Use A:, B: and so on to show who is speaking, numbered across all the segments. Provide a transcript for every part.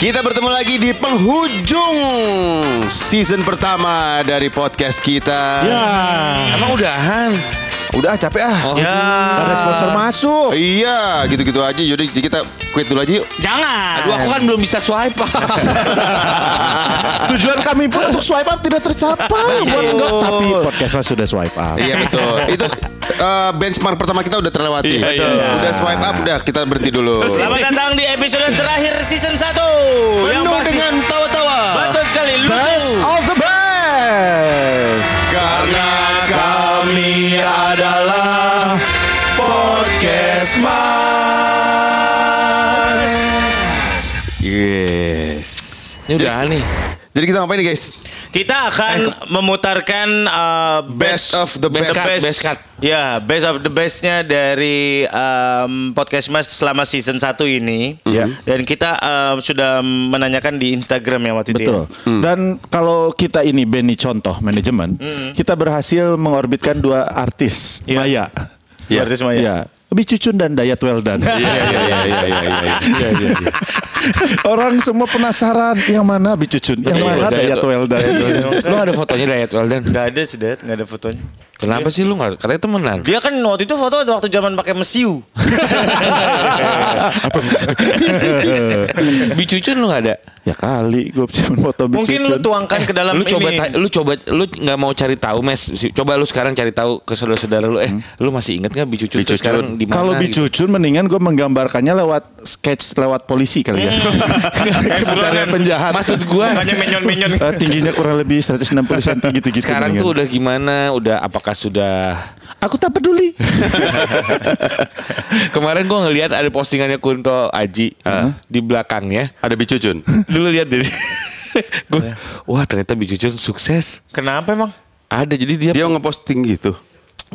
A: Kita bertemu lagi di penghujung season pertama dari podcast kita.
B: Ya.
C: Emang udahan? Oh.
A: Udah capek ah.
B: Ya.
D: Ada sponsor masuk.
A: Iya, gitu-gitu aja. Yaudah kita quit dulu aja yuk.
B: Jangan.
C: Aduh aku kan belum bisa swipe
D: Tujuan kami pun untuk swipe up tidak tercapai. Buat enggak, Iya, tapi podcast mas sudah swipe up.
A: Iya betul. Itu eh, benchmark pertama kita udah terlewati.
C: Iya, iya.
A: Betul. Udah swipe up, udah kita berhenti dulu.
B: Selamat datang di episode terakhir season 1 yang
A: Penuh
B: pasti
A: dengan tawa-tawa.
B: betul sekali lucu.
D: Best of the best.
A: Karena kami adalah podcast mas. Yes.
C: Ini udahan nih
A: Jadi kita ngapain nih guys?
B: Kita akan memutarkan uh,
A: Best of the best.
C: cut, best cut.
B: Ya, best of the bestnya dari um, podcast Mas selama season 1 ini.
D: Iya.
B: Dan kita um, sudah menanyakan di Instagram ya waktu itu.
D: Betul. Iya. Dan kalau kita ini Benny contoh manajemen, kita berhasil mengorbitkan dua artis
B: Iya.
D: Maya.
B: Ya. Berarti semuanya.
D: Iya. Lebih cucun dan Dayat Weldan.
A: Iya iya iya iya iya. iya.
D: Orang semua penasaran yang mana Bicucun, yang
C: Betul, Iya,
D: mana
C: Dayat
D: Dayat Weldan.
C: Iya, Lu
D: Kan?
C: ada fotonya Dayat Weldan
B: Gak ada sih, Det. Gak ada fotonya.
C: Kenapa sih lu gak Katanya temenan
B: Dia kan waktu itu foto waktu zaman pakai mesiu.
C: Bicucun lu gak ada
D: Iya. Ya kali gue cuma foto Bicucun.
B: Mungkin lu tuangkan ke dalam
C: Lu
B: ini.
C: coba ta- Lu coba Lu gak mau cari tahu mes Si- Coba lu sekarang cari tahu Ke saudara-saudara lu Eh lu masih inget gak Bicucun tuh sekarang di mana
D: Hmm. Kalau
C: gitu?
D: Bicucun mendingan gue menggambarkannya lewat sketch lewat polisi kali ya. Pencarian penjahat.
C: Maksud gua
B: Makanya menyon-menyon.
D: Eh, tingginya kurang lebih 160 cm gitu-gitu.
C: Sekarang
D: mendingan.
C: tuh udah gimana Udah apakah sudah
D: Aku tak peduli.
C: Kemarin gue ngelihat ada postingannya Kunto Aji eh, di belakangnya.
A: Ada bicucun.
C: Dulu lihat dari gue, wah ternyata Bicucun sukses.
B: Kenapa emang?
C: Ada jadi dia,
A: Dia ngeposting gitu.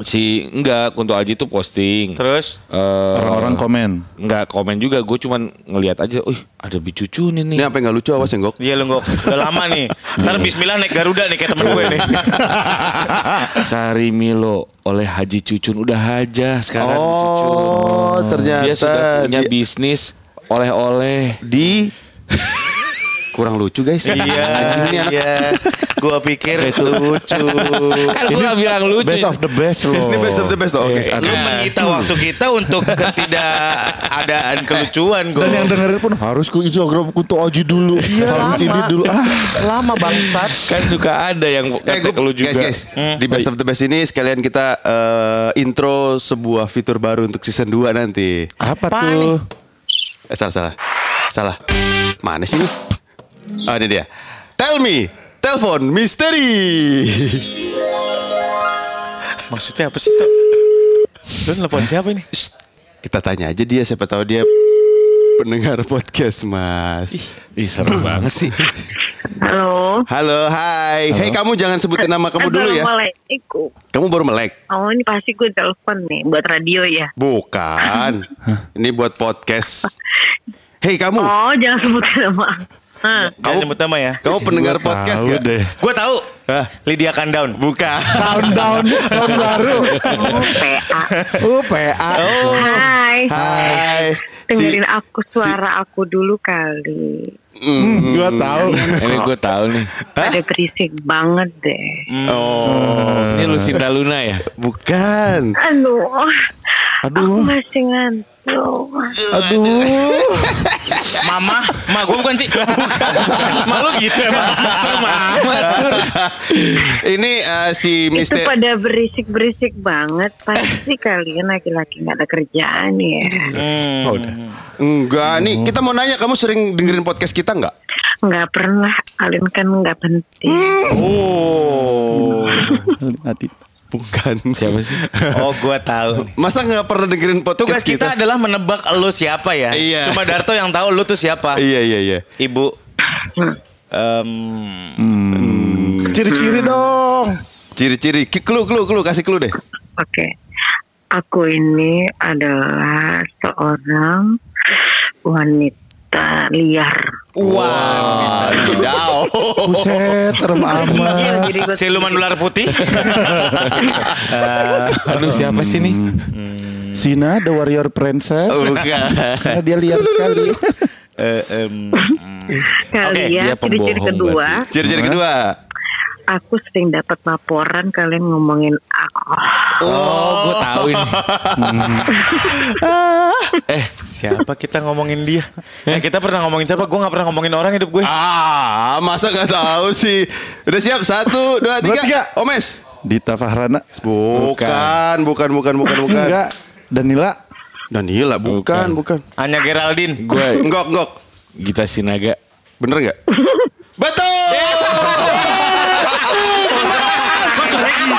C: si enggak Kunto Aji tuh posting.
B: Terus?
C: Eh,
D: Orang-orang komen.
C: enggak komen juga. Gue cuman ngelihat aja, "Ih, ada Bicucun ini."
A: Ini apa nggak lucu awas senggok.
B: Iya lenggok udah lama nih. Ntar Bismillah naik Garuda nih kayak temen gue nih.
C: Sari Milo oleh Haji Cucun udah aja sekarang
A: Oh,
C: Bicucun.
A: ternyata
C: dia sudah punya
A: dia-
C: bisnis oleh-oleh.
A: Di kurang lucu guys.
B: iya,
A: Anjing nih anak.
B: iya. Gue pikir lucu.
C: Kan gue gak bilang lucu.
D: Best of the best loh.
A: ya? Ini best of the best loh. Oke.
D: Yes,
B: Lu menyita waktu kita untuk ketidakadaan kelucuan gue.
D: Dan yang dengerin pun Iya, harus ku Instagram kuntu Oji dulu. harus ini dulu. Ah,
B: lama bangsat.
C: kan suka ada yang
A: Eh,
C: ngetek
A: gua-
C: lu juga. Hmm.
A: Guys, guys, di Best of the Best ini sekalian kita eh, intro sebuah fitur baru untuk season 2 nanti.
D: apa
B: Apaan
D: tuh?
B: nih?
A: Eh, salah, salah. Salah. Mana sih ini? Oh, ini dia. Tell me, telepon misteri.
B: Maksudnya apa sih tuh? Lu telepon siapa ini?
A: Shh, kita tanya aja dia, siapa tahu dia pendengar podcast, Mas.
C: Ih, serem banget sih.
E: Halo.
A: Halo, hai. Hei, kamu jangan sebutin nama kamu dulu ya.
E: Assalamualaikum.
A: Kamu baru melek.
E: Oh ini pasti gue telepon nih buat radio ya.
A: Bukan. Ini buat podcast. Hei, kamu.
E: Oh jangan sebut nama. Hah.
B: Jangan nyebut nama ya.
A: Kamu pendengar podcast
D: tahu
A: gak?
D: deh.
B: Gue tahu. Lydia Countdown.
A: Bukan.
D: Down down tahun baru.
E: Oh, PA.
D: Oh, PA.
E: Hai.
A: Hai. Si-
E: Dengerin aku suara aku dulu kali.
D: Gua tahu.
C: Ini gue tahu nih.
A: Eh?
E: Ada berisik banget deh.
A: Hmm. Oh,
C: Ini Lucinta Luna ya.
A: bukan.
E: Aduh. Aku
D: Aduh.
E: masih ngantuk.
D: Aduh.
B: Mama, ma gue bukan sih.
C: Malu gitu emang. Sama amat.
A: Ini eh, si
E: Itu
A: Mister
E: pada berisik-berisik banget. Pasti kalian laki-laki nggak ada kerjaan ya.
A: Hmm. Enggak, nih kita mau nanya kamu sering dengerin podcast kita nggak?
E: Nggak pernah. Kalian kan nggak penting.
A: Oh,
D: Nanti.
A: bukan.
C: Siapa sih?
B: Oh, gue tahu.
A: Masa nggak pernah dengerin podcast
B: Tugas kita
A: kita?
B: adalah menebak lu siapa ya.
A: Iya.
B: Cuma Darto yang tahu lu tuh siapa.
A: Iya iya iya.
B: Ibu. Em,
D: Ciri-ciri dong.
A: Ciri-ciri. Ki- Clue clue clue kasih clue deh.
E: Oke. Aku ini adalah seorang wanita liar.
A: Wah, wow.
D: Buset, serem amat.
E: Iya, Jadi gua-
B: siluman ular putih.
C: Aduh siapa sih nih?
D: Sina the warrior princess.
A: Oh, bukan.
D: Karena dia liar sekali.
B: Eh, em,
E: Kalian
C: dia
E: ciri-ciri
C: pembohong
E: ya, kedua,
A: Ciri-ciri kedua.
E: aku sering dapat laporan kalian ngomongin aku.
C: Oh, gue tahu ini. eh,
B: siapa kita ngomongin dia? Eh, kita pernah ngomongin siapa? Gue nggak pernah ngomongin orang hidup gue.
A: Ah, masa nggak tahu sih. Udah siap satu, dua, tiga.
D: tiga.
A: Omes.
D: Dita Fahrana
A: Bukan, bukan, bukan, bukan, bukan.
D: enggak Danila
A: Danila, bukan, bukan.
B: Hanya Geraldine.
C: gue
A: Ngok, ngok.
C: Gita Sinaga.
A: Bener nggak? Betul.
B: Kok suaranya gitu?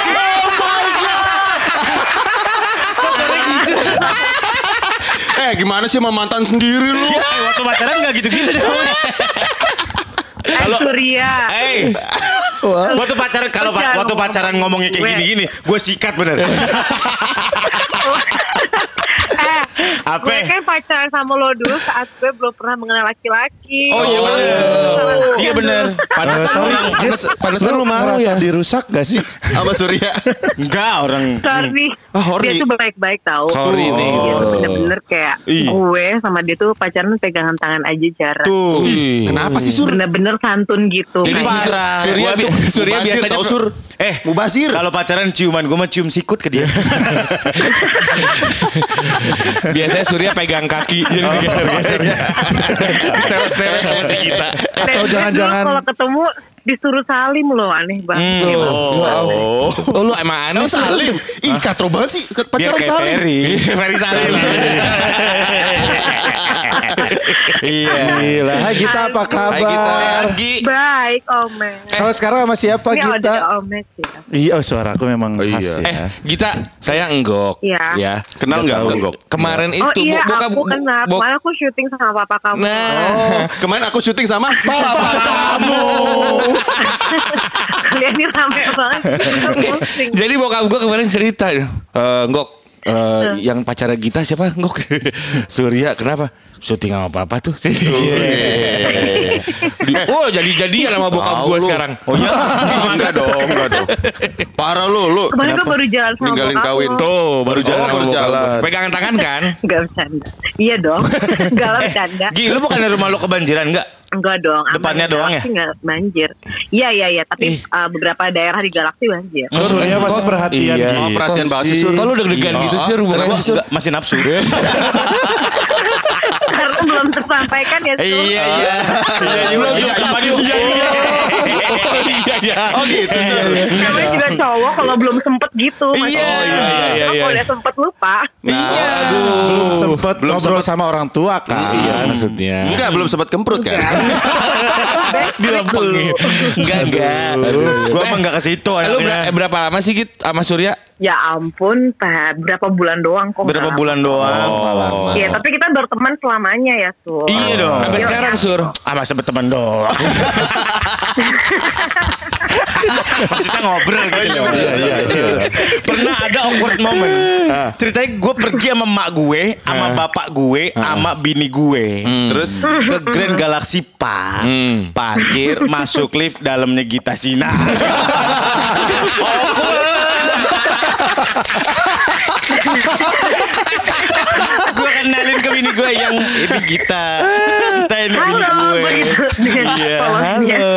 A: eh, gimana sih sama mantan sendiri lu?
B: Eh, waktu pacaran nggak gitu-gitu. deh.
E: Hai Surya.
B: Oh. Eh, waktu pacaran kalau pa- waktu pacaran ngomongnya kayak gini-gini, gue sikat bener.
E: Eh,
B: Apa?
E: gue kan pacaran sama lo dulu saat gue belum pernah mengenal laki-laki.
B: Oh iya bener.
E: Oh.
B: Iya bener.
D: pada Eh, sorry
A: Pantes- pantesan lu
D: lu
A: malu
D: ngerasa
A: ya?
D: dirusak gak sih
A: Sama Surya.
B: Enggak orang.
E: Sorry.
B: Hmm. Oh,
A: Ah, horny.
E: dia tuh baik-baik tau.
C: Sorry nih.
E: Dia tuh
C: Oh.
E: bener-bener kayak
B: Ih.
E: gue sama dia tuh pacaran pegangan tangan aja jarang.
B: Tuh.
A: Kenapa sih Sur?
E: Bener-bener santun gitu.
C: Jadi
E: kan.
C: Surya,
A: Surya,
C: bi- Surya biasanya
A: tau, Sur.
B: Eh,
A: Mubazir.
B: Kalau pacaran ciuman, gue mah cium sikut ke dia.
C: biasanya Surya pegang kaki jadi digeser-geser.
A: Seret-seret sama kita.
E: Dan
D: Atau
E: gue dulu
D: jangan-jangan-
E: kalau ketemu disuruh salim loh aneh banget.
B: Hmm. Gitu.
E: Gitu.
B: Oh.
C: Oh, lu emang aneh
A: Emang
C: sih.
A: salim? Ih, katro banget sih.
B: Biar
A: Pacaran
B: kayak
A: salim.
B: Ferry. Ferry salim. Iya.
D: Gila Hai Gita Eh. apa
A: Hai, Gita.
D: kabar
E: Baik, Omes.
D: Kalau sekarang sama siapa
E: Ini
D: Gita
E: audio Omes ya.
D: Iya oh, suaraku memang khas
C: Eh,
D: ya
C: Gita, saya enggok.
E: Iya.
C: Ya.
A: Kenal nggak
D: Nggak tahu.
A: Enggok?
C: Kemarin
E: Oh
C: itu
E: iya,
C: bu- buka-
E: aku kenal.
C: bu-
E: Kemarin aku syuting sama papa kamu.
C: Nah,
A: Oh, kemarin aku syuting sama papa kamu.
E: Kalian ini rame banget. Pusing.
C: Jadi bokap gue kemarin cerita, eh Ngok, eh,
E: Iya.
C: yang pacara Gita siapa? Ngok. Surya, kenapa? Syuting sama papa tuh.
A: Iya.
C: oh, jadi-jadian sama bokap
A: Tahu
C: gue
A: lu.
C: sekarang.
A: Oh iya? enggak dong, enggak dong. Parah lu, lu.
E: Kemarin gue baru jalan sama
A: Ninggalin
E: bokap
A: kawin.
E: lo.
C: Tuh, baru
A: Oh,
C: jalan sama
A: baru
C: bokap gua.
A: jalan.
C: Pegangan tangan kan?
E: Enggak bercanda. Iya dong. Enggak lah Oh, bercanda.
B: Gi, lu bukan rumah lu kebanjiran enggak?
E: Enggak dong. aman.
B: Depannya doang ya?
E: Galaxy Enggak banjir. Iya, iya, iya. Tapi eh, beberapa daerah di galaksi banjir.
D: Oh, Surya pasti perhatian
C: Iya.
D: Gita.
A: Oh, perhatian banget sih, Sur.
C: Kalau deg-degan gitu sih,
B: Karena
C: hubungannya
B: gua enggak- masih nafsu.
E: Karena belum tersampaikan ya. Sul.
B: Iya iya. Iya juga. Iya sama dia. Iya iya.
C: iya, iya.
A: Oh gitu, Sur.
E: Namanya juga cowok kalau belum sempet gitu. Mas.
C: Iya, iya, iya,
E: Aku
C: iya.
E: udah sempet lupa.
A: Nah,
D: Belum sempet ngobrol sama orang tua kan
C: Iya, maksudnya.
A: Enggak, belum sempat kemprut kan?
B: Dilempengin. Enggak enggak. Gua mah enggak ke situ
D: Eh,
C: Lu ber-
B: anaknya.
C: berapa lama sih Git sama Surya?
E: Ya ampun, Pak. Berapa bulan doang kok.
B: Berapa
E: Kak?
B: bulan doang?
E: Iya, tapi kita berteman selamanya ya, Sul.
B: Iya dong.
D: Eh,
C: Sampai
E: Iya.
C: sekarang Sur.
B: Ah masa berteman doang. Maksudnya ngobrol gitu loh. Pernah ada awkward moment. Ceritanya gue pergi sama mak gue, sama bapak gue, sama bini gue. Terus ke Grand Galaxy Park. Parkir, masuk lift, dalamnya Gita Sina. gue kenalin ke bini gue yang ini Gita. Gita ini bini
E: Halo, gitu.
B: gue.
E: begitu.
B: Iya,
E: Polosnya.
B: halo.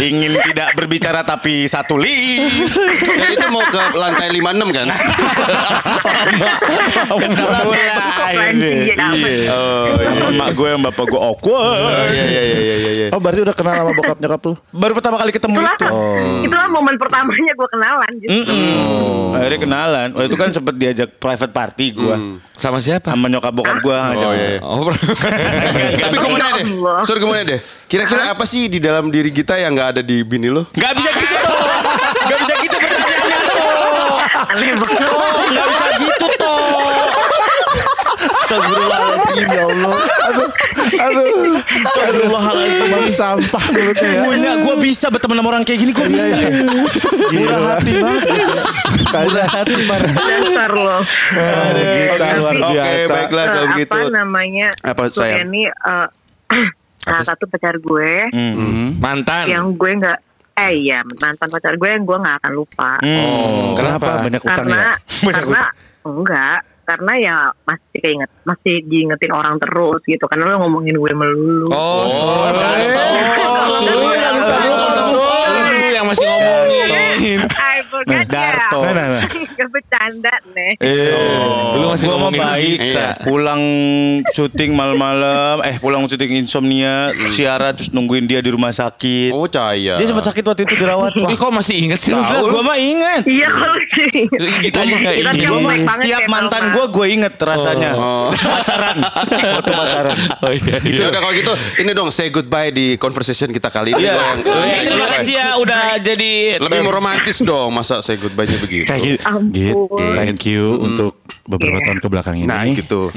B: Ingin tidak berbicara tapi satu lift.
A: Jadi itu mau ke lantai 56 kan?
B: Ketemu ya, akhirnya.
E: Iya.
B: Oh, iya. Mak gue sama bapak gue awkward.
A: Iya, iya, iya, iya, iya.
D: Oh berarti udah kenal sama bokap nyokap lu
B: Baru pertama kali ketemu
E: Itulah,
B: itu.
E: itulah momen pertamanya gue kenalan. gitu. Justru.
B: gitu. Mm. Akhirnya kenalan. Waktu itu kan sempet diajak private party gue.
C: Sama siapa?
B: Sama nyokap bokap gue
A: Mm.
B: ngajak.
A: Oh, iya, iya.
C: Oh,
A: Tapi gue mau nanya
B: gitu.
A: deh,
E: Allah.
A: Sur gue mau nanya deh. Kira-kira apa sih di dalam diri kita yang nggak ada di bini lo?
B: Gak bisa gitu toh. Gak bisa gitu pertanyaannya toh.
E: Aneh banget.
B: Toh, Gak bisa gitu toh.
D: Astagfirullahaladzim ya Allah Aduh Aduh
B: Astagfirullahaladzim.
D: Emang sampah mulutnya ya
B: Punya gue bisa berteman sama orang kayak gini gue bisa.
D: Murah hati banget Murah hati parah
E: Dasar lo.
D: Aduh, Gita luar
A: Iya. Oke,
D: biasa
A: baiklah
E: Eh,
A: gitu. kalau gitu. begitu.
E: Apa namanya?
A: Nah, Apa,
E: Gue
A: sayang?
E: Ini eh, salah satu pacar gue
C: mantan.
E: yang gue nggak eh iya mantan pacar gue yang gue nggak akan lupa.
B: Hmm.
C: Oh,
D: Kenapa banyak utang ya
E: karena karena enggak karena ya masih keinget masih diingetin orang terus gitu karena lo ngomongin gue melulu
C: Oh,
B: eh,
A: Oh,
B: Surya,
A: yang
B: Surya,
A: sama
B: eh,
C: Surya.
A: Surya eh, yang masih
B: Iya,
A: ngomongin.
E: I forgot
B: Darto.
E: ya
D: Nah, nah, nah.
E: Gak bercanda nih
B: Eh.
C: Lu masih
B: Iya. Gua mah
C: ngomongin
B: baik.
A: Iya.
B: Pulang syuting malam-malam, eh pulang syuting insomnia, siaran terus nungguin dia di rumah sakit.
A: Oh, cahaya.
B: Dia sempat sakit waktu itu dirawat.
C: Ih, Iya. kok masih inget sih? lu?
B: Tahu, gua mah ingat.
E: Iya kalau sih
C: Kita aja nggak
E: Kita
C: ingat.
E: tiap baik banget ya,
B: Setiap
E: kayak
B: mantan
E: mama.
B: gue, gue inget rasanya.
A: Oh.
B: Pacaran. Waktu pacaran.
C: Oh iya.
A: Ya udah kalau gitu, ini dong say goodbye di conversation kita kali ini.
B: Iya.
A: Gua yang- gua yang say
B: Terima
A: goodbye.
B: kasih ya udah jadi.
A: Lebih mau romantis dong masa say goodbye-nya begitu.
D: Kayak gitu.
E: Ampun.
D: Git, thank you untuk beberapa tahun ke belakang ini.
A: Nah, gitu.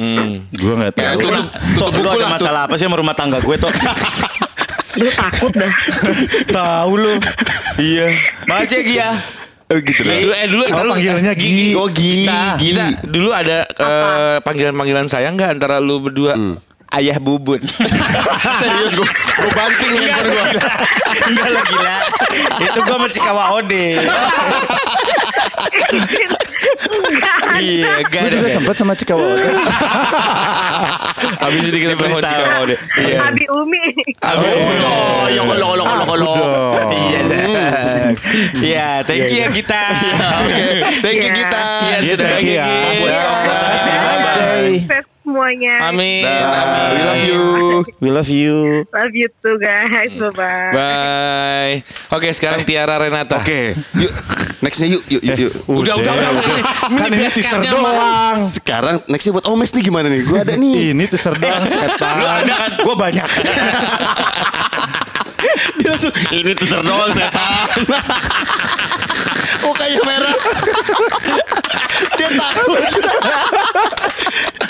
D: Gua nggak
A: Ya,
D: tahu.
A: tutup tutup
B: Lu
A: buku
B: Hmm. ada
A: lah tuh.
B: masalah apa sih sama rumah tangga gue tuh?
E: Gue takut dah
B: Tahu lu. Iya. Makasih ya Gia.
A: gitu lah.
C: Dulu, eh dulu,
D: Oh,
C: ntar lu-
D: panggilannya Gi.
C: Oh, Gi. Gita, dulu ada eh, panggilan-panggilan sayang nggak antara lu berdua?
B: Ayah bubun.
A: Serius gue gue banting handphone gue.
B: Enggak lo gila. Itu gue mencikawa Ode. Iya, gak
D: Gue
B: ada.
D: juga sempat sama Cika Wawa.
C: Habis sedikit
B: Diberi
C: telepon
B: style.
C: Cika Waude. Iya.
E: Abi Umi
A: iya,
B: Oh, yang lo lo lo lo. Iya. dah. Iya, thank you ya kita.
A: Oke, thank you
E: Iya.
A: kita.
B: Iya,
C: Iya,
B: sudah.
C: thank you, Gi.
D: Bye.
E: Sukses semuanya
C: Amin.
A: Dah, We love you.
D: We love you.
E: Love you too guys Bye-bye
C: Bye. Oke, sekarang Tiara Renata.
A: Oke, yuk nextnya yuk yuk yuk.
B: Eh,
A: yuk.
C: Udah, udah, udah. Ini
D: Kan ini
C: biasanya
D: teaser
C: sama-
D: doang.
A: Sekarang nextnya buat Omes nih gimana nih? Gue ada
B: Iya.
A: nih.
D: Ini teaser doang.
B: Lu ada kan? Gue banyak.
A: Dia langsung ini tuh serdol setan. Oh kayak merah. Dia takut.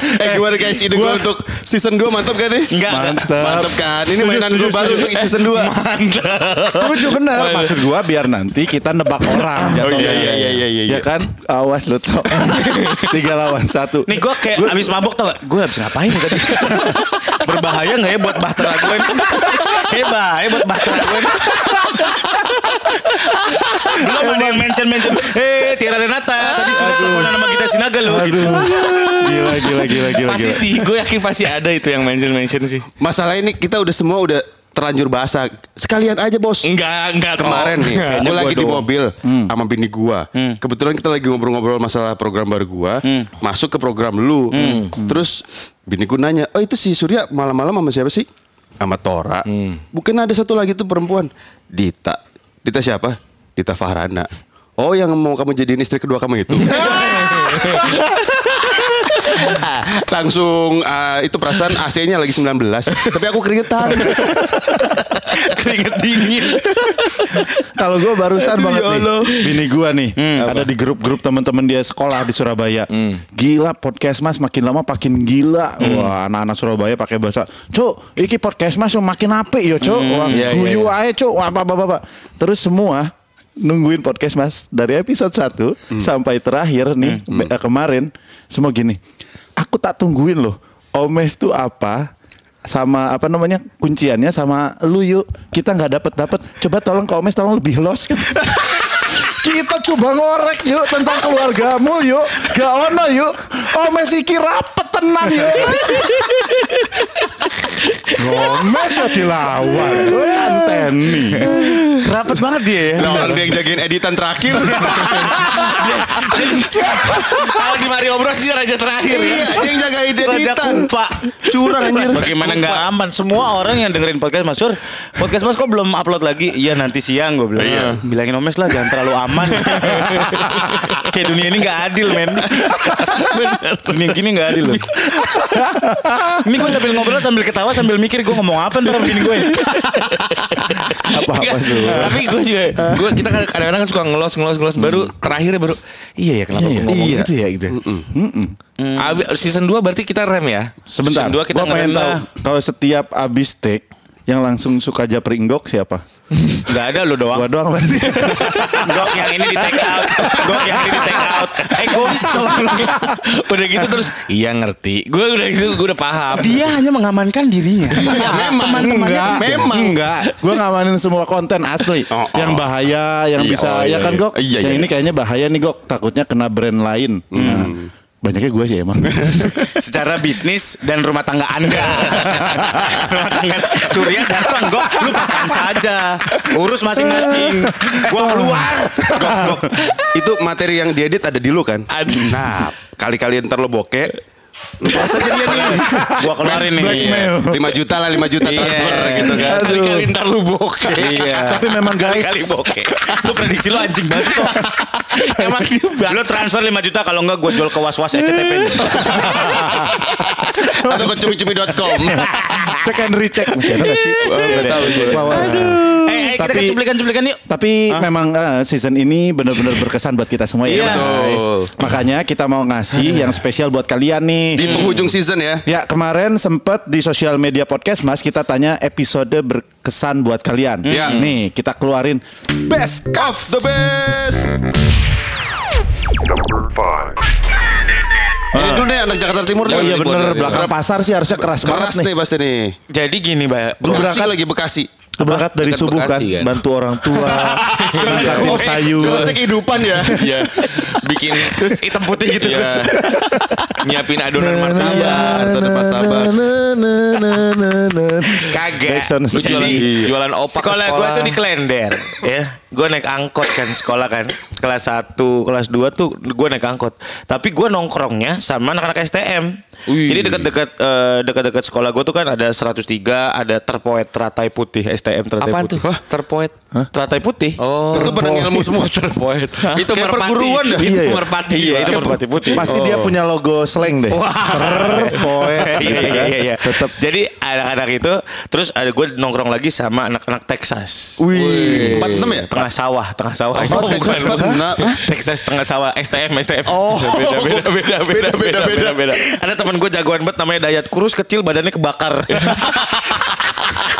A: eh gimana guys ide gue untuk season 2 mantap kan nih?
B: Enggak.
D: Mantap.
A: Mantap kan? Ini
D: Setuju,
A: mainan
D: setuju,
A: gue baru
D: setuju.
A: untuk season 2. Mantap.
D: Setuju benar. Maksud gua biar nanti kita nebak orang.
A: Oh,
D: jatuhnya.
A: iya, iya, iya, iya, iya.
D: Ya kan? Awas lu Tok. Tiga lawan satu.
B: Nih gue kayak abis mabok tau gak? Gue abis ngapain ya tadi? Berbahaya gak ya buat bahtera gue? Kayak bahaya ya buat bahtera gue. Belum ada yang mention-mention. Eh, Tiara Renata, tadi sudah teleponan sama kita Sinaga loh. Gitu.
D: Gila, gila, gila, gila.
C: Pasti
D: gila.
C: sih, gue yakin pasti ada itu yang mention-mention sih.
A: Masalah ini kita udah semua udah terlanjur bahasa. Sekalian aja bos.
C: Enggak, enggak
A: Kemarin nih,
C: Kayaknya
A: gue lagi di
C: gua doang. Hmm.
A: mobil sama bini gua. Kebetulan kita lagi ngobrol-ngobrol masalah program baru gua.
C: Hmm.
A: Masuk ke program lu. Terus bini gua nanya, oh itu si Surya malam-malam sama siapa sih? Sama Tora.
C: Hmm.
A: Bukan ada satu lagi tuh perempuan. Dita. Dita siapa? Dita Fahrana. Oh yang mau kamu jadiin istri kedua kamu itu? Langsung ah, itu perasaan AC-nya lagi 19 Tapi aku keringetan
B: Keringet dingin.
D: Kalau gue barusan
A: Aduh,
D: banget
A: ya
D: nih,
A: Allah.
D: bini gue nih
C: Hmm.
D: ada di grup-grup teman-teman dia sekolah di Surabaya. Gila podcast mas makin lama makin gila.
C: Hmm.
D: Wah anak-anak Surabaya pakai bahasa, cok, iki podcast mas yang makin apik ya cok. Wah
C: Iya, iya,
D: guyu
C: iya.
D: aja cok, wah apa apa Terus semua nungguin podcast mas dari episode 1
C: Hmm.
D: sampai terakhir nih be- eh, kemarin semua gini. Aku tak tungguin loh. Omes tuh apa? sama apa namanya kunciannya sama lu yuk kita nggak dapet dapet coba tolong ke Omes tolong lebih los kita coba ngorek yuk tentang keluargamu yuk gak ono yuk Omes iki rapet tenang yuk Omes ya dilawan Weh, anteni
B: Rapet banget dia ya.
A: Nah orang dia yang jagain editan terakhir
C: Kalau di Mario Bros dia raja terakhir ya.
A: Iya, dia yang jagain
B: Raja
A: editan
B: Kumpa Curang anjir Bagaimana nggak aman Semua orang yang dengerin podcast Mas Sur Podcast Mas kok belum upload lagi Iya nanti siang gue bilang Bilangin Omes lah jangan terlalu aman Kayak dunia ini nggak adil men Dunia gini nggak adil loh Ini gue sambil ngobrol sambil ketawa sambil mikir Gue ngomong apa ntar ya? begini gue
D: apa apa
C: Enggak,
D: tuh
C: Tapi gue juga, gue kita kan kadang-kadang kan suka ngelos, ngelos, ngelos. Baru terakhirnya baru, Hmm. iya ya kenapa
D: Iya,
C: gue ngomong
D: iya.
C: gitu ya gitu. Mm. Abi- season 2 berarti kita rem ya.
D: sebentar
C: Season 2 kita
D: gua pengen
C: ngerem
D: tahu
C: lah.
D: kalau setiap abis take yang langsung suka japri enggok siapa
B: Nggak ada lo doang
D: gua doang berarti
B: Gok yang ini di take out Gok yang ini di take out Eh, Egois
C: udah gitu terus iya ngerti. Gue udah gitu, gue udah paham.
B: Dia hanya mengamankan dirinya
A: memang.
B: Teman-temannya
D: Enggak,
A: memang.
D: enggak. Gue ngamanin semua konten asli.
A: Oh, oh.
D: Yang bahaya, yang
A: Iya,
D: bisa
A: oh, iya,
D: ya kan
A: iya.
D: Gok.
A: Iya, Hmm.
D: yang
A: iya.
D: ini kayaknya bahaya nih Gok, takutnya kena brand lain. Nah, Banyaknya gue sih emang.
B: secara bisnis dan rumah tangga Anda. rumah tangga Surya datang, gok, lu makan saja. Urus masing-masing. Gua keluar. Gok, gok.
A: Itu materi yang diedit ada di lu kan? Nah, kali-kali ntar lo bokeh. Lu pas aja dia nih.
B: Gua keluarin nih. Iya,
D: Blackmail.
A: 5 juta lah, 5
C: Iya.
A: juta transfer gitu kan.
C: Kali-kali ntar lu bokeh.
D: Tapi memang guys,
B: Kali bokeh. Lu prediksi lu anjing banget kok.
C: Emang dia bak-
B: Lu transfer 5 juta kalau enggak gua jual ke was-was
D: Iya.
B: SCTP.
A: Atau ke cumi-cumi.com.
D: check and recheck. Masih ada nggak sih?
A: Enggak tahu sih. Eh,
D: Wah, wah.
B: Eh, eh, kita ke
D: Tapi-
B: cuplikan-cuplikan yuk.
D: Tapi memang eh, season ini benar-benar berkesan buat kita semua ya. guys.
B: Iya.
A: Betul.
D: Makanya kita mau ngasih yang spesial buat kalian nih.
C: Iya.
A: Di penghujung season ya.
D: Ya kemarin sempat di sosial media podcast mas kita tanya episode berkesan buat kalian.
A: Ya.
D: Nih kita keluarin
A: Best of the best. Ini dulu nih anak Jakarta Timur.
D: Oh iya bener belakang
A: belakang
D: pasar sih harusnya keras,
A: keras
D: banget nih.
A: nih pasti nih.
B: Jadi gini, Mbak.
A: Bekasi
D: berangkat-
A: lagi Bekasi.
D: Berangkat dari
C: Dekat
D: subuh kan,
C: Bekasi, kan?
D: bantu orang tua, berangkatin sayur.
A: Kerasnya kehidupan ya.
C: Iya. Bikin
B: Terus Nah, hitam putih gitu.
C: ya, nyiapin adonan
D: Iya,
A: Martabak,
C: martabak.
A: ada martabak.
B: Kagak.
D: Backsound
C: Lu jualan,
B: Jadi- iya.
D: Iya.
C: jualan opak
B: sekolah,
C: ke
B: gue
C: Oh, sekolah.
B: tuh di Klender ya gue naik angkot kan sekolah kan kelas 1 kelas 2 tuh gue naik angkot tapi gue nongkrongnya sama anak-anak STM
C: Wih.
B: jadi dekat-dekat eh, dekat-dekat sekolah gue tuh kan ada 103 ada terpoet teratai putih STM teratai
C: Apaan
B: putih
C: tuh? Terpoet.
B: teratai putih
C: Oh.
A: Itu pedang ilmu semua.
C: Terpoet. Itu
A: Kayak
C: merpati.
A: perguruan dah.
C: Itu
D: Iya, iya.
C: merpati.
B: iya itu
C: Kayak
B: merpati putih Oh.
D: Pasti dia punya logo slang deh. Terpoet.
B: iya,
D: gitu
B: iya,
D: kan.
B: iya, iya.
D: Tetep.
B: Jadi anak-anak itu terus ada gue nongkrong lagi sama anak-anak Texas.
D: Wih.
A: 46 ya?
B: Tengah sawah, tengah sawah.
A: Oh, Texas
B: bukan.
A: Tengah Sawah.
B: Hah? Texas tengah sawah, STM, STM. Oh, beda, beda, beda, beda, beda, beda, beda. Ada teman gue jagoan banget namanya Dayat Kurus kecil badannya kebakar.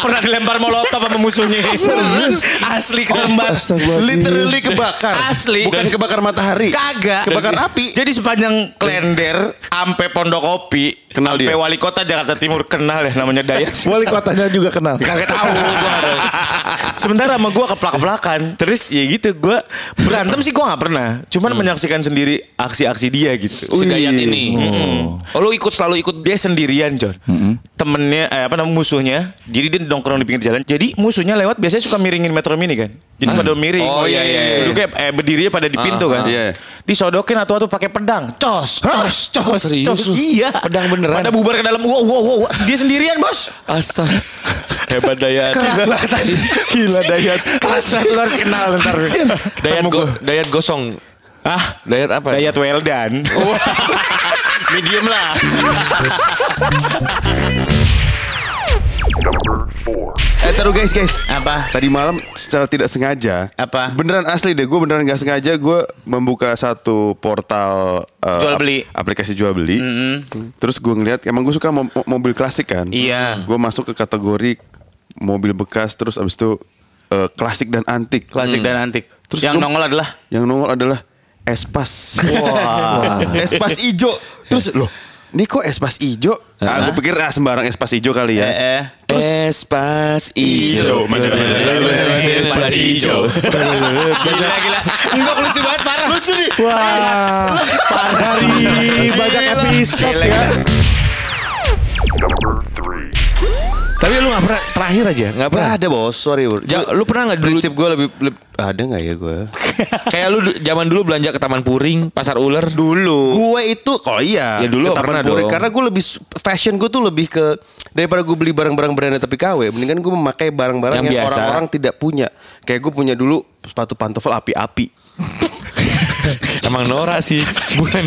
B: Pernah dilempar molotov sama musuhnya.
A: Oh,
B: Asli keserembat.
D: Astagfirullahaladzim.
A: Literally kebakar.
B: Asli.
A: Bukan kebakar matahari.
B: Kagak.
A: Kebakar api.
B: Jadi sepanjang Klender ampe Pondokopi,
A: Kenal
B: ampe
A: dia?
B: wali kota Jakarta Timur kenal ya namanya Dayat.
D: Wali kotanya juga kenal.
B: Kagak tahu gua. Sementara sama gua keplak-keplakan. Terus ya gitu gua berantem sih gua nggak pernah. Cuman menyaksikan sendiri aksi-aksi dia gitu.
C: Si Dayat Hmm. ini. Oh, lu ikut selalu ikut
B: Dia sendirian, John.
C: Hmm.
B: Temennya eh, apa namanya musuhnya. Jadi dia nongkrong di pinggir jalan. Jadi musuhnya lewat biasanya suka miringin metro mini kan. Jadi pada miring.
C: Oh, iya, iya, Ah, iya.
B: Duduknya eh, berdirinya pada di pintu kan.
A: Iya.
B: Disodokin atau atau pakai pedang. Cos, cos, cos,
C: Serius
B: cos.
C: lu?
B: Iya.
C: Pedang beneran?
B: Pada bubar ke dalam. Wow, wow, wow. Dia sendirian, Bos.
C: Astaga. Hebat Dayat.
B: Keras banget.
D: Gila Dayat.
B: Kelas lu harus kenal ntar.
C: Dayat, go, Dayat gosong.
B: Ah,
C: Dayat apa?
B: Dayat Weldan.
A: Medium lah. Eh taruh guys guys
B: Apa?
A: Tadi malam secara tidak sengaja
B: Apa?
A: Beneran asli deh Gue beneran gak sengaja Gue membuka satu portal eh,
B: Jual beli. Mm-hmm.
A: ap- Aplikasi jual beli Terus gue ngeliat Emang gue suka mo- mo- mobil klasik kan
B: Iya.
A: Gue masuk ke kategori Mobil bekas Terus abis itu eh, Klasik dan antik
B: Klasik dan antik.
A: Terus
B: yang
A: gua-
B: nongol adalah
A: Yang nongol adalah Espas. Espas ijo. Terus loh, ini kok espas ijo? Nah, aku pikir ah sembarang espas ijo kali ya.
B: eh, eh.
C: Espas iya.
A: Ijo,
B: Espas ijo. Gila gila. Enggak lucu banget parah. Lucu nih.
D: Wah, dari banyak episode
B: Gila,
D: ya.
B: gila.
C: Tapi lu gak pernah terakhir aja, gak pernah.
A: Gak ada bos, sorry. Bro.
C: Ja- lu pernah gak dulu
A: Prinsip gue lebih, lebih- ada nggak ya gue?
C: kayak lu du- zaman dulu belanja ke Taman Puring, Pasar Ular dulu.
A: gue itu, oh iya.
C: Ya dulu
A: Kita
C: pernah
A: Puri,
C: dong.
A: Karena gue lebih su- fashion gue tuh lebih ke daripada gue beli barang-barang branded tapi KW, mendingan gue memakai barang-barang
C: Yang
A: yang,
C: biasa.
A: orang-orang tidak punya. Kayak gue punya dulu sepatu pantofel api-api.
C: Emang Nora sih, bukan.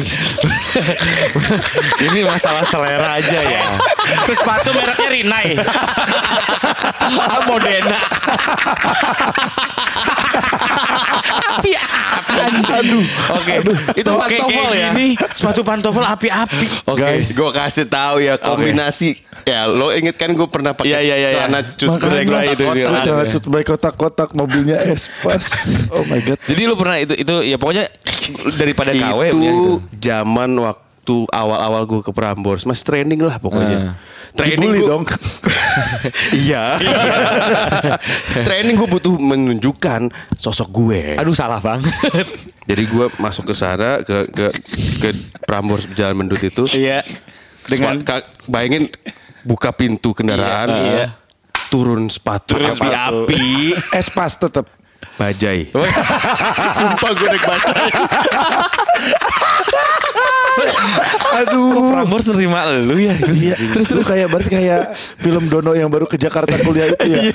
C: Ini masalah selera aja ya.
B: Terus sepatu mereknya Rinai. Ah, Modena. Api-api. Aduh. Oke. Itu
C: Oke,
B: pantofel
C: kayak
B: ya.
C: gini,
B: sepatu pantofel api-api.
C: Oke.
A: gue kasih tahu ya kombinasi. Ya lo inget kan gue pernah pakai
C: Iya, iya, iya, iya.
A: celana cut
C: Makanya-
A: break
C: itu dia.
A: ya. iya.
D: Jangan cut by kotak-kotak mobilnya espas. Oh my god.
C: Jadi lu pernah itu itu ya pokoknya daripada
A: itu
C: KW ya, gitu.
A: zaman waktu waktu awal-awal gue ke Prambors masih training lah pokoknya.
C: Ah.
A: Training
D: Dibully
A: gua-
D: dong.
A: iya. training gue butuh menunjukkan sosok gue.
F: Aduh salah banget.
A: Jadi gue masuk ke sana ke ke ke Prambors Jalan Mendut itu.
B: Iya.
A: Dengan
B: Dengan
A: bayangin buka pintu kendaraan,
B: Iya.
A: turun sepatu,
B: Turun
A: api,
B: sepatu.
A: api,
D: Es pas tetap.
A: bajai. Sumpah gue naik bajai.
F: Kok Prambors nerima lu ya?
D: Terus terus kayak berarti kayak film Dono yang baru ke Jakarta kuliah itu ya.
A: Iya.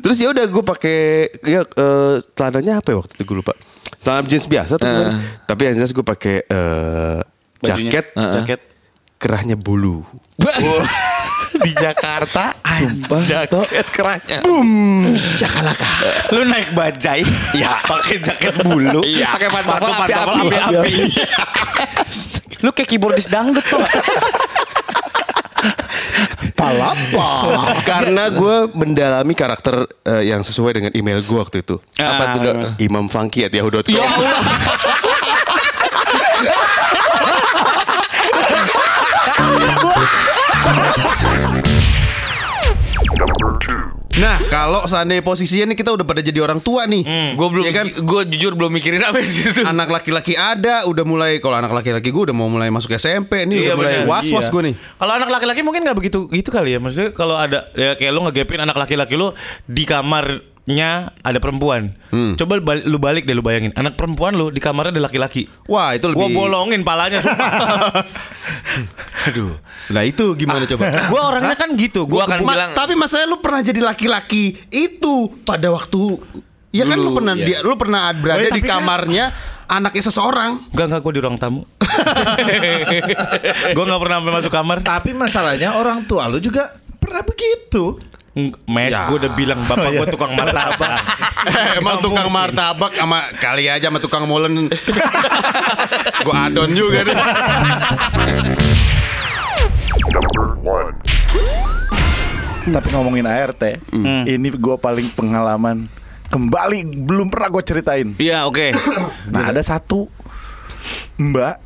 A: Terus ya udah gue pakai ya eh, celananya apa ya waktu itu gue lupa. Celana jeans biasa tuh, kan. tapi yang jelas gue pakai eh,
B: Bajunya.
A: jaket,
B: Heeh.
A: jaket kerahnya bulu.
B: di Jakarta
D: Sumpah, Tok.
B: jaket kerahnya Jakalaka lu naik bajai ya pakai jaket bulu
A: Iya.
B: pakai pantofel
A: Sepatu
B: api-api
A: pantofel
B: api-api. lu kayak keyboardis dangdut tuh
A: Palapa. Karena gue mendalami karakter eh, yang sesuai dengan email gue waktu itu.
B: Apa tuh, Dok?
A: Imam Funky at yahoo.com. Nah, kalau seandainya posisinya nih kita udah pada jadi orang tua nih.
C: Hmm.
F: Gue belum,
A: Iya kan?
F: gue jujur belum mikirin apa di situ.
A: anak laki-laki ada udah mulai kalau anak laki-laki gue udah mau mulai masuk SMP nih udah mulai was-was gue nih.
G: Kalau anak laki-laki mungkin nggak begitu gitu kali ya. Maksudnya kalau ada ya kayak lu ngegepin anak laki-laki lu di kamarnya ada perempuan.
A: Hmm.
G: Coba bal- lu balik deh lu bayangin. Anak perempuan lu di kamarnya ada laki-laki.
A: Wah, itu lebih
G: Gua bolongin palanya sumpah.
F: Aduh.
A: Nah, itu gimana coba?
G: Gua orangnya kan gitu.
F: Gua akan
A: Ma-
F: bilang.
A: tapi masalahnya lu pernah jadi laki-laki itu pada waktu ya kan lu
F: Dulu,
A: pernah
F: iya.
A: dia lu pernah berada
G: Eh,
A: di
G: tapi kan-
A: kamarnya anaknya seseorang.
G: Enggak enggak gua di ruang tamu. gua nggak pernah sampai masuk kamar.
H: Tapi masalahnya orang tua lu juga pernah begitu. Ya.
G: Ng- Mes,
A: Ya.
G: gua udah bilang bapak gua tukang martabak.
A: Eh, Emang tukang martabak sama kali aja sama tukang molen. Gua adon juga nih.
D: Tapi ngomongin ART, ini gue paling pengalaman kembali belum pernah gue ceritain.
B: iya oke
D: Nah ada satu mbak,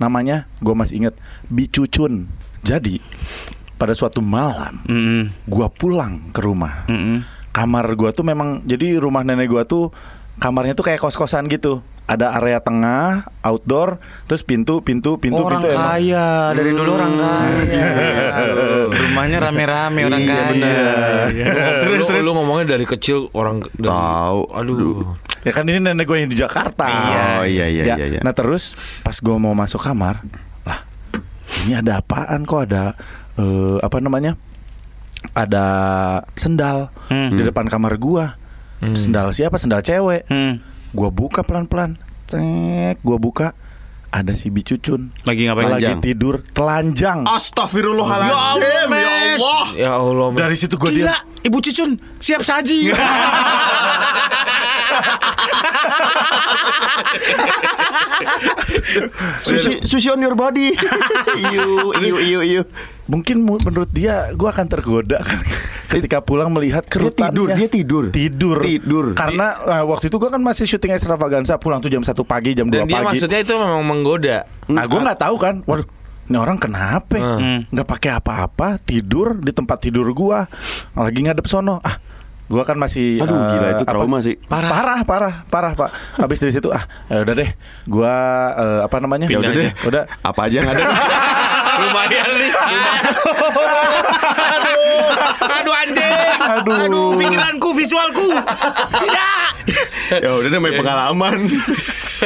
D: namanya gue masih inget Bicucun. Jadi pada suatu malam, gue pulang ke rumah. Kamar gue tuh memang jadi rumah nenek gue tuh kamarnya tuh kayak kos kosan gitu. Ada area tengah, outdoor, terus pintu, pintu, pintu,
B: orang
D: pintu. emang-
G: Eh,
B: kaya dari dulu orang
G: kan, ya.
B: kaya
H: Iya.
B: rumahnya rame-rame orang kaya
H: iya.
F: Terus, terus. Lu ngomongnya dari kecil orang dari-
A: Tahu.
F: Aduh.
D: Ya kan ini nenek gue yang di Jakarta.
A: Oh, iya, iya,
D: Ya,
A: iya, iya.
D: Nah terus pas gue mau masuk kamar, lah ini ada apaan kok ada eh, apa namanya? Ada sendal
G: Hmm.
D: di depan kamar gua. Sendal siapa? Sendal cewek.
G: Hmm.
D: Gua buka pelan-pelan. Cek, gua buka ada si bicucun.
G: Lagi ngapain? Ah,
D: Lagi
A: Telanjang.
D: tidur telanjang.
A: Astagfirullahaladzim. Ya Allah.
F: Ya Allah. Mes.
D: Dari situ gua dia
B: ibu cucun siap saji
A: Sushi, sushi on your body. Iyu, iyu, iyu, iyu.
D: mungkin mu- menurut dia gua akan tergoda kan ketika pulang melihat kerutannya
A: tidur, dia tidur.
D: tidur
A: Tidur.
D: karena eh, waktu itu gua kan masih syuting extravaganza pulang tuh jam 1 pagi jam 2
F: Dan dia
D: pagi
F: maksudnya itu memang menggoda.
D: nah gua nggak tahu kan waduh ini orang kenapa ya?
A: Hmm.
D: nggak pakai apa-apa tidur di tempat tidur gua lagi ngadep sono ah gua kan masih
A: Aduh,
D: eh,
A: gila, itu
D: apa-
A: trauma sih.
D: parah parah parah parah pak habis dari situ ah ya udah deh gua eh, apa namanya ya udah deh udah
A: Apa aja yang ada?
F: Lumayan nih. Aduh anjing.
D: Aduh.
F: pikiranku, visualku. Tidak.
A: ya udah namanya
F: Iya.
A: pengalaman.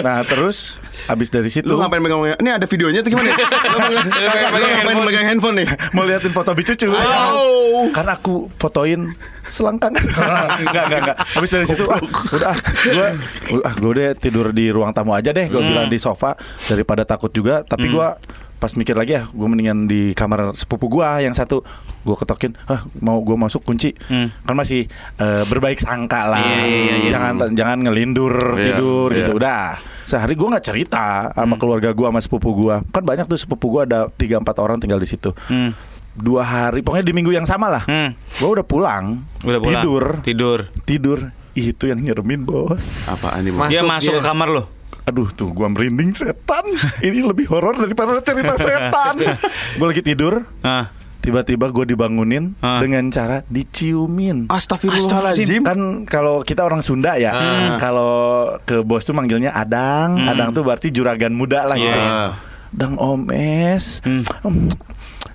D: nah terus habis dari situ
A: Lu ngapain megang Ini ada videonya tuh gimana? Lu megang- ngapain ngapain megang handphone nih?
D: mau liatin foto bicucu
A: Oh.
D: karena aku fotoin selangkangan enggak enggak enggak habis dari situ ah, udah ah, gua ah gua deh tidur di ruang tamu aja deh gua bilang di sofa daripada takut juga tapi gua pas mikir lagi ya gua mendingan di kamar sepupu gua yang satu gua ketokin ah mau gua masuk kunci
G: Hmm.
D: kan masih eh, berbaik sangka lah
G: Iya,
D: jangan jangan ngelindur tidur gitu udah sehari gua nggak cerita
G: Hmm.
D: sama keluarga gua sama sepupu gua kan banyak tuh sepupu gua ada tiga empat orang tinggal di situ
G: Hmm.
D: dua hari pokoknya di minggu yang sama lah gua udah pulang
G: Udah pulang.
D: tidur
G: Tidur.
D: tidur itu yang nyeremin bos
A: Apaan nih?
F: Masuk
G: Dia masuk ke kamar lo.
D: Aduh tuh gua merinding setan. Ini lebih horor daripada cerita setan. gua lagi tidur,
G: Ah.
D: tiba-tiba gua dibangunin
G: Ah.
D: dengan cara diciumin.
A: Astagfirullahaladzim.
D: Kan kalau kita orang Sunda ya,
G: Ah.
D: kalau ke bos tuh manggilnya Adang.
G: Hmm.
D: Adang tuh berarti juragan muda lah gitu.
G: Iya.
A: Ah.
D: Dang Omes.
G: Hmm.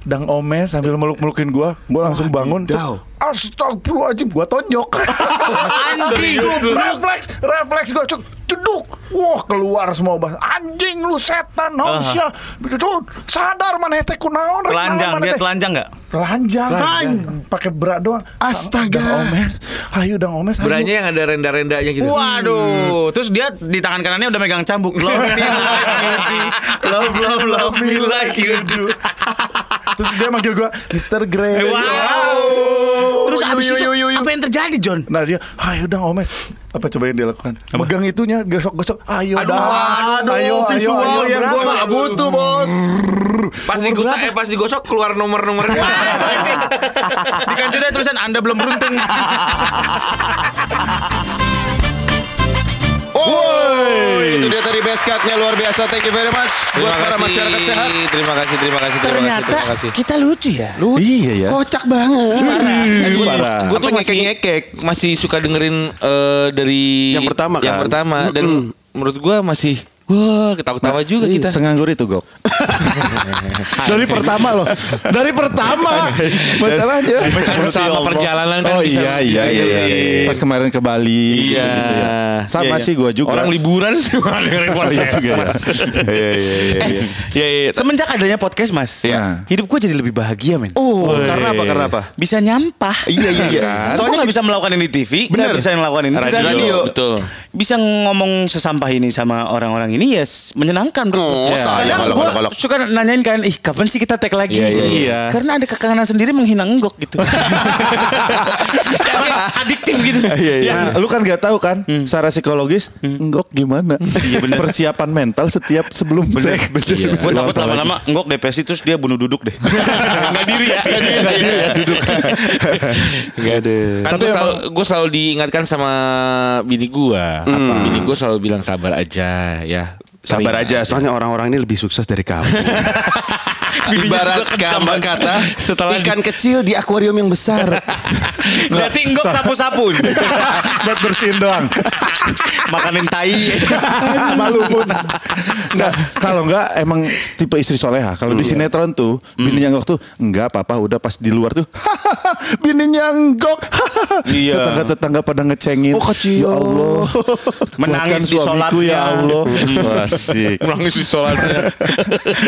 D: Dang Omes sambil meluk-melukin gua, gua langsung bangun.
A: Wadidaw.
D: Astagfirullahaladzim, gua tonjok. Anjing, refleks, refleks gua cuk, ceduk. Wah, keluar semua bah. Anjing lu setan, naon sia. Betul, sadar mana teh kunaon. rek,
G: Ah. Telanjang,
D: naon maneh
G: dia
D: teh.
G: telanjang nggak?
D: Telanjang, An- pakai berat doang. Astaga. Dang Omes, ayo Dang Omes. ayo.
F: Beranya yang ada renda-rendanya gitu.
H: Hmm.
A: Hmm.
G: Waduh, terus dia di tangan kanannya udah megang cambuk. Love me like you do. Love, love, love me like you do.
D: Terus dia manggil gua Mr. Grey.
G: Wow. Terus abis itu apa yang terjadi John?
D: Nah dia, ayo dang omes Apa coba yang dia lakukan? Megang itunya, gesok-gesok Ayo
G: Aduh,
D: dang
F: Ah,
G: aduh, visual yang
D: berapa?
G: gua nggak
A: butuh bos.
F: Pas digosok, eh pas digosok keluar nomor-nomornya.
G: Di kancutnya tulisan Anda belum beruntung.
A: Woi, itu dia tadi best cut-nya luar biasa. Thank you very much buat para masyarakat sehat.
C: Terima kasih, terima kasih, terima kasih, terima kasih.
H: kita lucu ya.
D: Iya ya
H: Kocak banget.
D: Parah
C: Gue tuh
A: Apa
C: masih
A: ngekek-ngekek?
C: masih suka dengerin eh, dari
A: Yang pertama
C: yang
A: kan?
C: pertama dan menurut gue masih wah
A: Nah,
C: ketawa-ketawa juga
A: iya.
C: kita.
D: Senganggur itu Gok Dari pertama loh
B: Nah,
D: Dari pertama
A: Iya.
D: Masalahnya
C: Sama perjalanan
D: Oh
C: kan
D: iya
C: bisa begitu.
D: iya iya iya. Pas kemarin ke Bali
C: Iya.
D: gitu-gitu ya. Sama
C: Iya, iya.
D: sih gua juga
C: Orang liburan suka
A: Oh,
C: dengerin podcast.
D: juga ya.
A: Iya iya iya. iya.
C: Iya, iya.
B: Semenjak adanya podcast mas,
D: Iya.
B: hidup gue jadi lebih bahagia men.
A: Oh, karena apa? Karena apa?
B: Bisa nyampah.
A: Iya iya iya.
B: Soalnya nggak bisa melakukan ini di TV, nggak bisa melakukan ini di
A: Radio.
B: radio.
C: Betul.
B: Bisa ngomong sesampah ini sama orang-orang ini ya s- menyenangkan.
A: Oh,
B: Ya.
A: tak, ya,
B: Kadang
A: kolok,
B: gua
A: kolok, kolok.
B: suka nanyain kan, ih kapan sih kita tag lagi?
C: Iya, iya, iya.
B: Karena ada kekangenan sendiri menghina nggok gitu. Ya, kayak Adiktif gitu.
D: Nah, lu kan gak tahu kan secara psikologis ngok gimana? Persiapan mental setiap sebelum bener,
C: Iya.
B: Gue takut lama-lama ngok depresi terus dia bunuh duduk deh.
C: Enggak diri ya. Enggak diri, nggak diri ya duduk. Enggak ada. Kan gue selalu, gua selalu diingatkan sama bini gue. Apa? Bini gue selalu bilang sabar aja ya.
A: Mm. Sabar
C: Terima
A: aja, soalnya orang-orang ini lebih sukses dari kamu. Ibarat gambar kata
C: Setelah
A: ikan kecil di akuarium yang besar.
B: Berarti ngok sapu-sapu.
D: buat bersihin doang.
B: Makanin tai.
G: Iya,
D: Malu pun. Nah, kalau enggak emang tipe istri soleha. Kalau di sinetron tuh bininya ngok tuh enggak apa-apa udah pas di luar tuh bininya ngok.
B: Iya.
D: Tetangga-tetangga pada ngecengin. Oh, kecil. Ya Allah.
B: Menangis
D: Kuatkan
B: di
D: suamiku,
B: sholatnya.
D: ya Allah.
C: Asik. Nangis di sholatnya.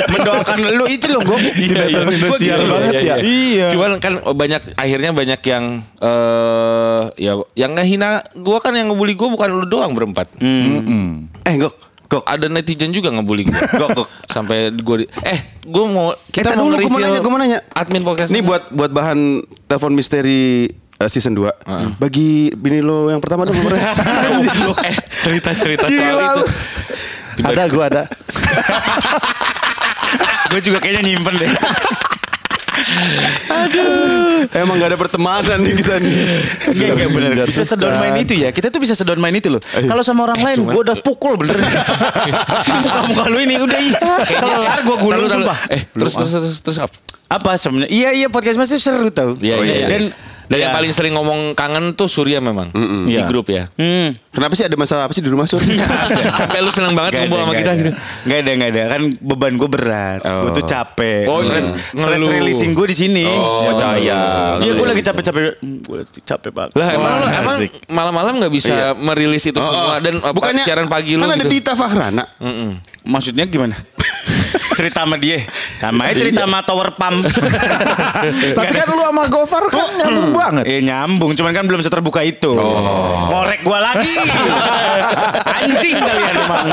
B: Mendoakan lu itu loh ngok.
D: Tidak terindosiar banget ya.
C: Iya. Cuman kan banyak akhirnya banyak yang eh ya yang ngehina gua kan yang ngebully gua bukan lu doang berempat.
A: eh, Gok. Gok.
C: Ada netizen juga ngebully gua.
A: Gok, gok.
C: Sampai gua di, eh gua mau
A: Kita dulu gua mau
C: nge-reveal
A: nanya, gua mau nanya.
C: Admin podcast.
A: Ini buat buat bahan telepon misteri eh, season 2.
F: Ah.
A: Bagi bini lo yang pertama dong nomornya.
C: Goblok. eh cerita-cerita soal
D: Gila
C: itu.
D: lu. Ada gua ada.
B: Gue juga kayaknya nyimpen deh.
A: Emang gak ada pertemanan nih kita nih.
B: Iya iya bener. Bisa sedon main itu ya. Kita tuh bisa sedon main itu loh. Kalau sama orang lain gue udah pukul bener. Muka-muka lu ini udah ih. Kelar gue gulung
C: Taruh, taruh.
B: sumpah.
C: Eh terus terus terus terus apa?
B: Apa sebenarnya? Iya iya podcast mas tuh seru tau.
C: Iya iya. iya.
B: Dan
C: Dan
B: ya.
C: yang paling sering ngomong kangen tuh Surya memang di
D: Iya.
C: grup ya.
B: Hmm.
A: Kenapa sih ada masalah apa sih di rumah Sur?
C: Sampai lu seneng
B: Gak
C: banget
B: ada,
C: ngumpul sama
B: gak
C: kita
B: ada.
C: gitu.
B: Gak ada, gak ada. Kan beban gue berat. Gue tuh capek.
C: Oh,
B: stress,
C: iya.
B: stress
C: Ngeluh.
B: releasing gue di sini.
A: Oh, daya.
B: Iya, gue lagi capek-capek. Gue capek banget.
C: Lah emang lu
D: Wah,
C: emang
D: asik.
C: malam-malam nggak bisa merilis itu semua dan apa,
A: Bukannya
C: siaran pagi lu
A: Kan ada
C: gitu.
A: Dita Fahrana.
B: Maksudnya gimana? cerita sama dia. Sama aja cerita sama Tower Pump.
D: Tapi kan lu sama Gofar kan nyambung banget.
B: Eh nyambung, cuman kan belum seterbuka itu. Ngorek gua lagi. Anjing kalian emang.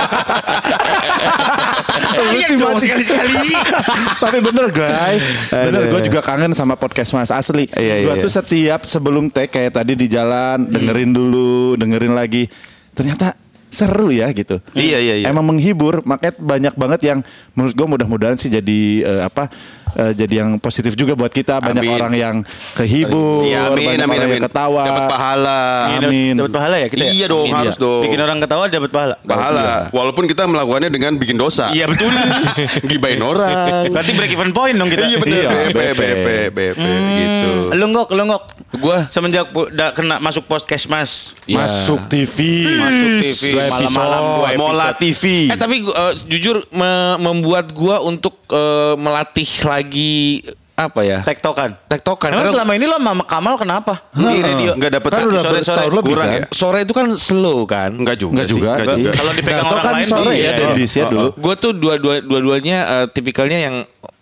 B: kalian dong sekali-sekali.
D: Tapi bener guys, bener gue juga kangen sama podcast mas asli.
A: Iya, iya, iya.
D: Gue
A: Hmm.
D: tuh setiap sebelum tag kayak tadi di jalan dengerin dulu, dengerin lagi. Ternyata seru ya gitu.
A: Iya, iya, iya.
D: Emang menghibur, makanya banyak banget yang menurut gue mudah-mudahan sih jadi eh, apa eh, jadi yang positif juga buat kita. Banyak
A: Amin.
D: orang yang kehibur,
A: Iya, amin,
D: banyak
A: amin,
D: orang yang
A: amin.
D: ketawa. Iya,
A: Dapat pahala.
D: Amin.
B: Dapat pahala ya kita? ya?
A: Iya dong,
B: Amin.
A: harus dong.
B: Bikin orang ketawa dapat pahala.
D: iya.
A: Pahala. Walaupun kita melakukannya dengan bikin dosa.
B: Iya betul.
A: Gibain
D: Iya,
A: orang.
B: Berarti break even point dong kita.
A: Iya benar. BP, BP, BP
D: Hmm.
A: gitu.
B: Lenggok, lenggok.
C: Gua?
B: semenjak pu- da- kena masuk podcast mas,
D: Iya.
C: Ya.
D: Masuk TV.
B: masuk TV
D: Dua
B: malam-malam
D: episode.
B: dua
A: Mola
B: episode.
A: TV.
C: Eh tapi gua, eh, jujur me- membuat gua untuk eh, melatih lagi apa ya?
B: Tektokan.
C: Tektokan.
B: Emang
C: Karena
B: selama ini lo sama Kamal kenapa? Di radio.
A: Enggak dapat
D: Kan udah
B: Sore-sore
D: setahun lebih
A: kurang
D: kan?
A: ya?
C: sore itu kan slow kan?
A: Enggak juga.
D: Enggak
A: sih,
D: juga.
A: Enggak juga.
C: Iya,
B: Kalau dipegang
D: Darto
B: orang
D: kan
B: lain
D: sore
B: iya.
D: ya Dendis ya dulu.
C: Gue tuh dua-dua dua-duanya eh, tipikalnya yang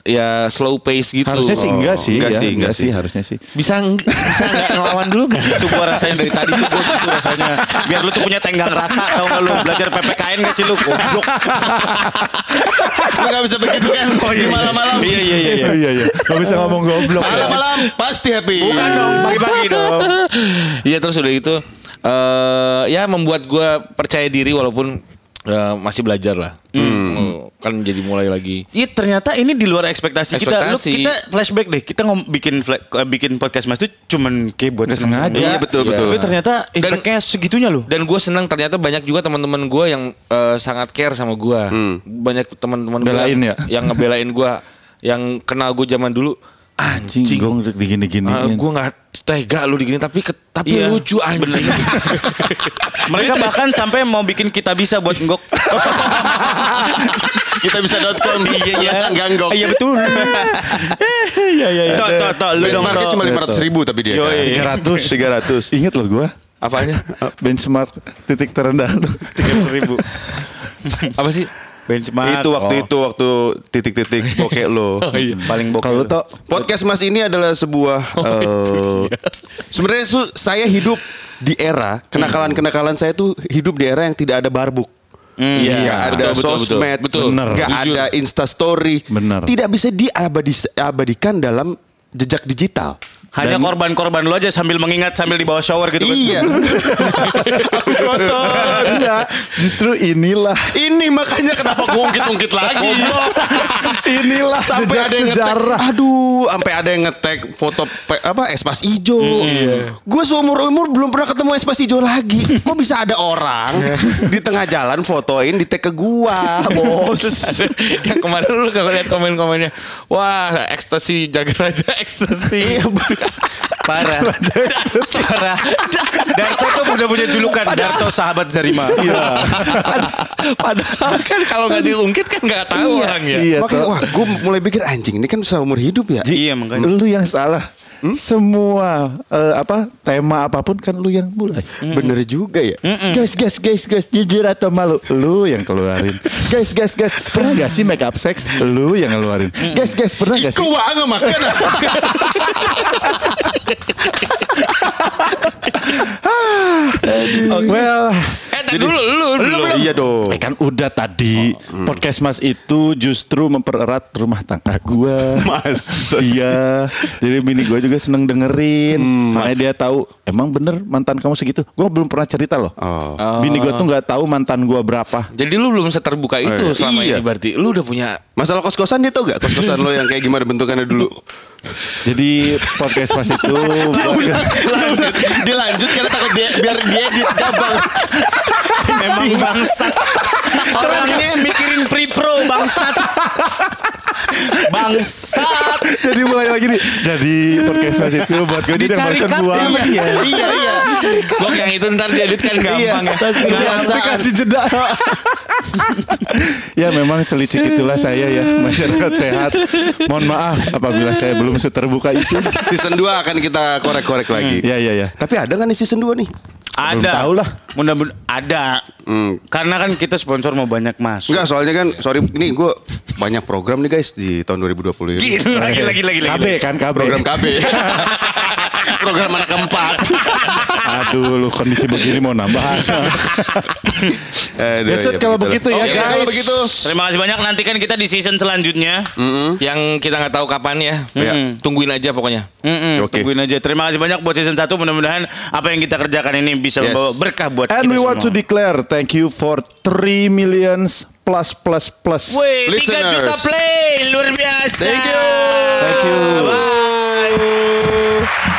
C: ya slow pace gitu.
D: Harusnya sih enggak sih.
A: Enggak
D: ya.
A: sih, enggak sih.
D: harusnya sih.
C: Bisa ng- bisa nggak ngelawan dulu nggak?
B: Itu gua rasanya dari tadi tuh gua gitu rasanya. Biar lu tuh punya tenggang rasa tau gak lu belajar PPKN gak sih lu? Goblok.
A: Enggak bisa begitu kan. Di malam-malam.
B: Iya iya iya. iya.
D: Iya, iya. Gak bisa ngomong goblok.
A: Malam-malam pasti happy.
B: Bukan dong pagi-pagi dong.
C: Iya terus udah gitu eh ya membuat gua percaya diri walaupun eh, masih belajar lah. Hmm, Kan jadi mulai lagi.
B: Iya ternyata ini di luar ekspektasi, kita. Lu
C: Ekspektasi.
B: kita flashback deh. Kita ngom bikin fla- eh, bikin podcast Mas itu cuman kayak buat
D: Nggak
B: seneng-seneng
D: sengaja.
B: doang.
A: Iya betul
C: Iya.
A: betul.
B: Tapi ternyata
C: Dan-
B: impactnya segitunya loh.
C: Dan gue senang ternyata banyak juga teman-teman gue yang eh, sangat care sama gua Banyak teman-teman gua
D: Belain ya?
C: yang ngebelain gua yang kenal gue zaman dulu. Anjing,
D: Anjing, gue digini-gini.
C: Ah, gua nggak tega lu digini tapi ke- tapi
B: Iya,
C: lucu anjing.
B: Mereka bahkan sampai mau bikin kita bisa buat ngok.
A: Kita bisa.com. Iya iya. Ganggok.
B: Iya betul.
D: Iya, iya, iya.
B: Tok tok tok lu dong.
A: Benchmarknya
B: Tok.
A: cuma 500 ribu tapi dia
D: kan.
B: Yoi.
D: 300.
A: 300.
D: Ingat loh gue.
C: Apanya?
D: Benchmark titik terendah lu.
B: 300 ribu.
C: Apa sih?
B: Benchmark.
A: Itu
D: Oh.
A: waktu itu waktu titik-titik bokek lo.
D: iya.
B: paling bokeh.
D: Kalau lu tau
A: Podcast Mas ini adalah sebuah eh, sebenarnya su- saya hidup di era kenakalan-kenakalan saya tuh hidup di era yang tidak ada barbuk. Iya, nggak ada
C: betul, betul,
A: sosmed,
C: betul.
D: Bener.
A: nggak
C: Jujur.
A: ada instastory,
D: Bener.
A: tidak bisa diabadikan dalam jejak digital.
B: Hanya korban-korban lu aja sambil mengingat sambil di bawah shower gitu kan.
A: Iya,
B: Aku kotor.
D: Enggak, Nah, justru inilah
A: ini makanya kenapa gue ungkit-ungkit lagi.
D: inilah
A: sampai
D: jejak
A: ada yang ngetek,
D: sejarah.
A: aduh, sampai ada yang ngetek foto pe- apa espas ijo. Gue seumur umur belum pernah ketemu espas ijo lagi. Kok bisa ada orang di tengah jalan fotoin di tag ke gua, bos?
C: yang kemarin lu kalau lihat komen-komennya, wah ekstasi jaga raja ekstasi.
B: Parah. Parah. Darto tuh udah punya julukan Darto sahabat Zarima.
D: Iya.
B: Iya.
C: Padahal kan kalau nggak diungkit kan nggak tahu orang ya.
D: Iya,
A: Makanya
D: Tok.
A: wah, gue mulai pikir anjing ini kan seumur hidup ya.
B: Iya makanya.
D: Lu yang salah. Semua eh, apa tema apapun kan lu yang mulai.
A: Bener juga ya.
D: Guys, guys, guys, guys, jujur atau malu, lu yang keluarin. guys, guys, guys, pernah gak sih make up sex? Lu yang ngeluarin. Guys, guys, pernah gak sih?
A: Gua nggak makan.
D: Well,
C: Eh, tadi dulu lu dulu.
A: Iya dong.
D: eh kan udah tadi podcast Mas itu justru mempererat rumah tangga gua. Mas. Iya. Jadi bini gua juga seneng dengerin. Makanya dia tahu emang bener mantan kamu segitu. Gua belum pernah cerita loh.
A: Oh.
D: Bini gua tuh nggak tahu mantan gua berapa.
C: Jadi lu belum seterbuka itu
A: Eh,
C: selama
A: iya.
C: ini berarti. Lu udah punya
A: Masalah kos-kosan dia tau gak kos-kosan lo yang kayak gimana bentukannya dulu?
D: Jadi podcast Mas itu buat-
A: lanjut, dia lanjut karena takut dia, biar dia
B: Emang
D: Iya.
B: bangsat. Orangnya mikirin pre-pro bangsat. Bangsat.
D: jadi mulai lagi nih. Jadi podcast Mas itu buat gua jadi
B: Dicari
D: barusan
B: cut,
D: gua.
B: iya.
A: Iya iya.
C: blok yang itu ntar diedit kan gampang ya.
D: Tapi kasih jeda. ya memang selicik itulah saya ya masyarakat sehat. Mohon maaf apabila saya belum seterbuka itu.
A: Season 2 akan kita korek-korek lagi.
D: Ya ya ya.
A: Tapi ada nggak nih season 2 nih?
B: Ada.
D: Belum tahu lah.
B: Mudah-mudahan ada. Karena kan kita sponsor mau banyak masuk.
A: Enggak, soalnya kan sorry ini gue banyak program nih guys di tahun 2020 ini.
B: lagi lagi lagi
D: KB kan KB.
A: Program Eh, KB. program anak keempat.
D: Aduh lu kondisi begini mau nambah.
A: Aduh,
D: Ya, Sud, kalau begitu
A: Iya,
D: ya,
A: Oke, Kalau
D: guys.
A: begitu.
B: Terima kasih banyak nantikan kita di season selanjutnya.
C: Yang kita nggak tahu kapan ya.
A: Iya.
C: Tungguin aja pokoknya.
D: Ya,
B: Mm-mm,
A: Oke.
B: Tungguin aja. Terima kasih banyak buat season 1. Mudah-mudahan apa yang kita kerjakan ini bisa
A: Yes.
B: membawa berkah buat
D: And
B: kita
D: we want to
B: semua.
D: declare thank you for 3 millions plus plus plus.
B: Wey, 3
A: Listeners.
B: juta play luar biasa.
A: Thank you.
G: Thank you.
I: Bye.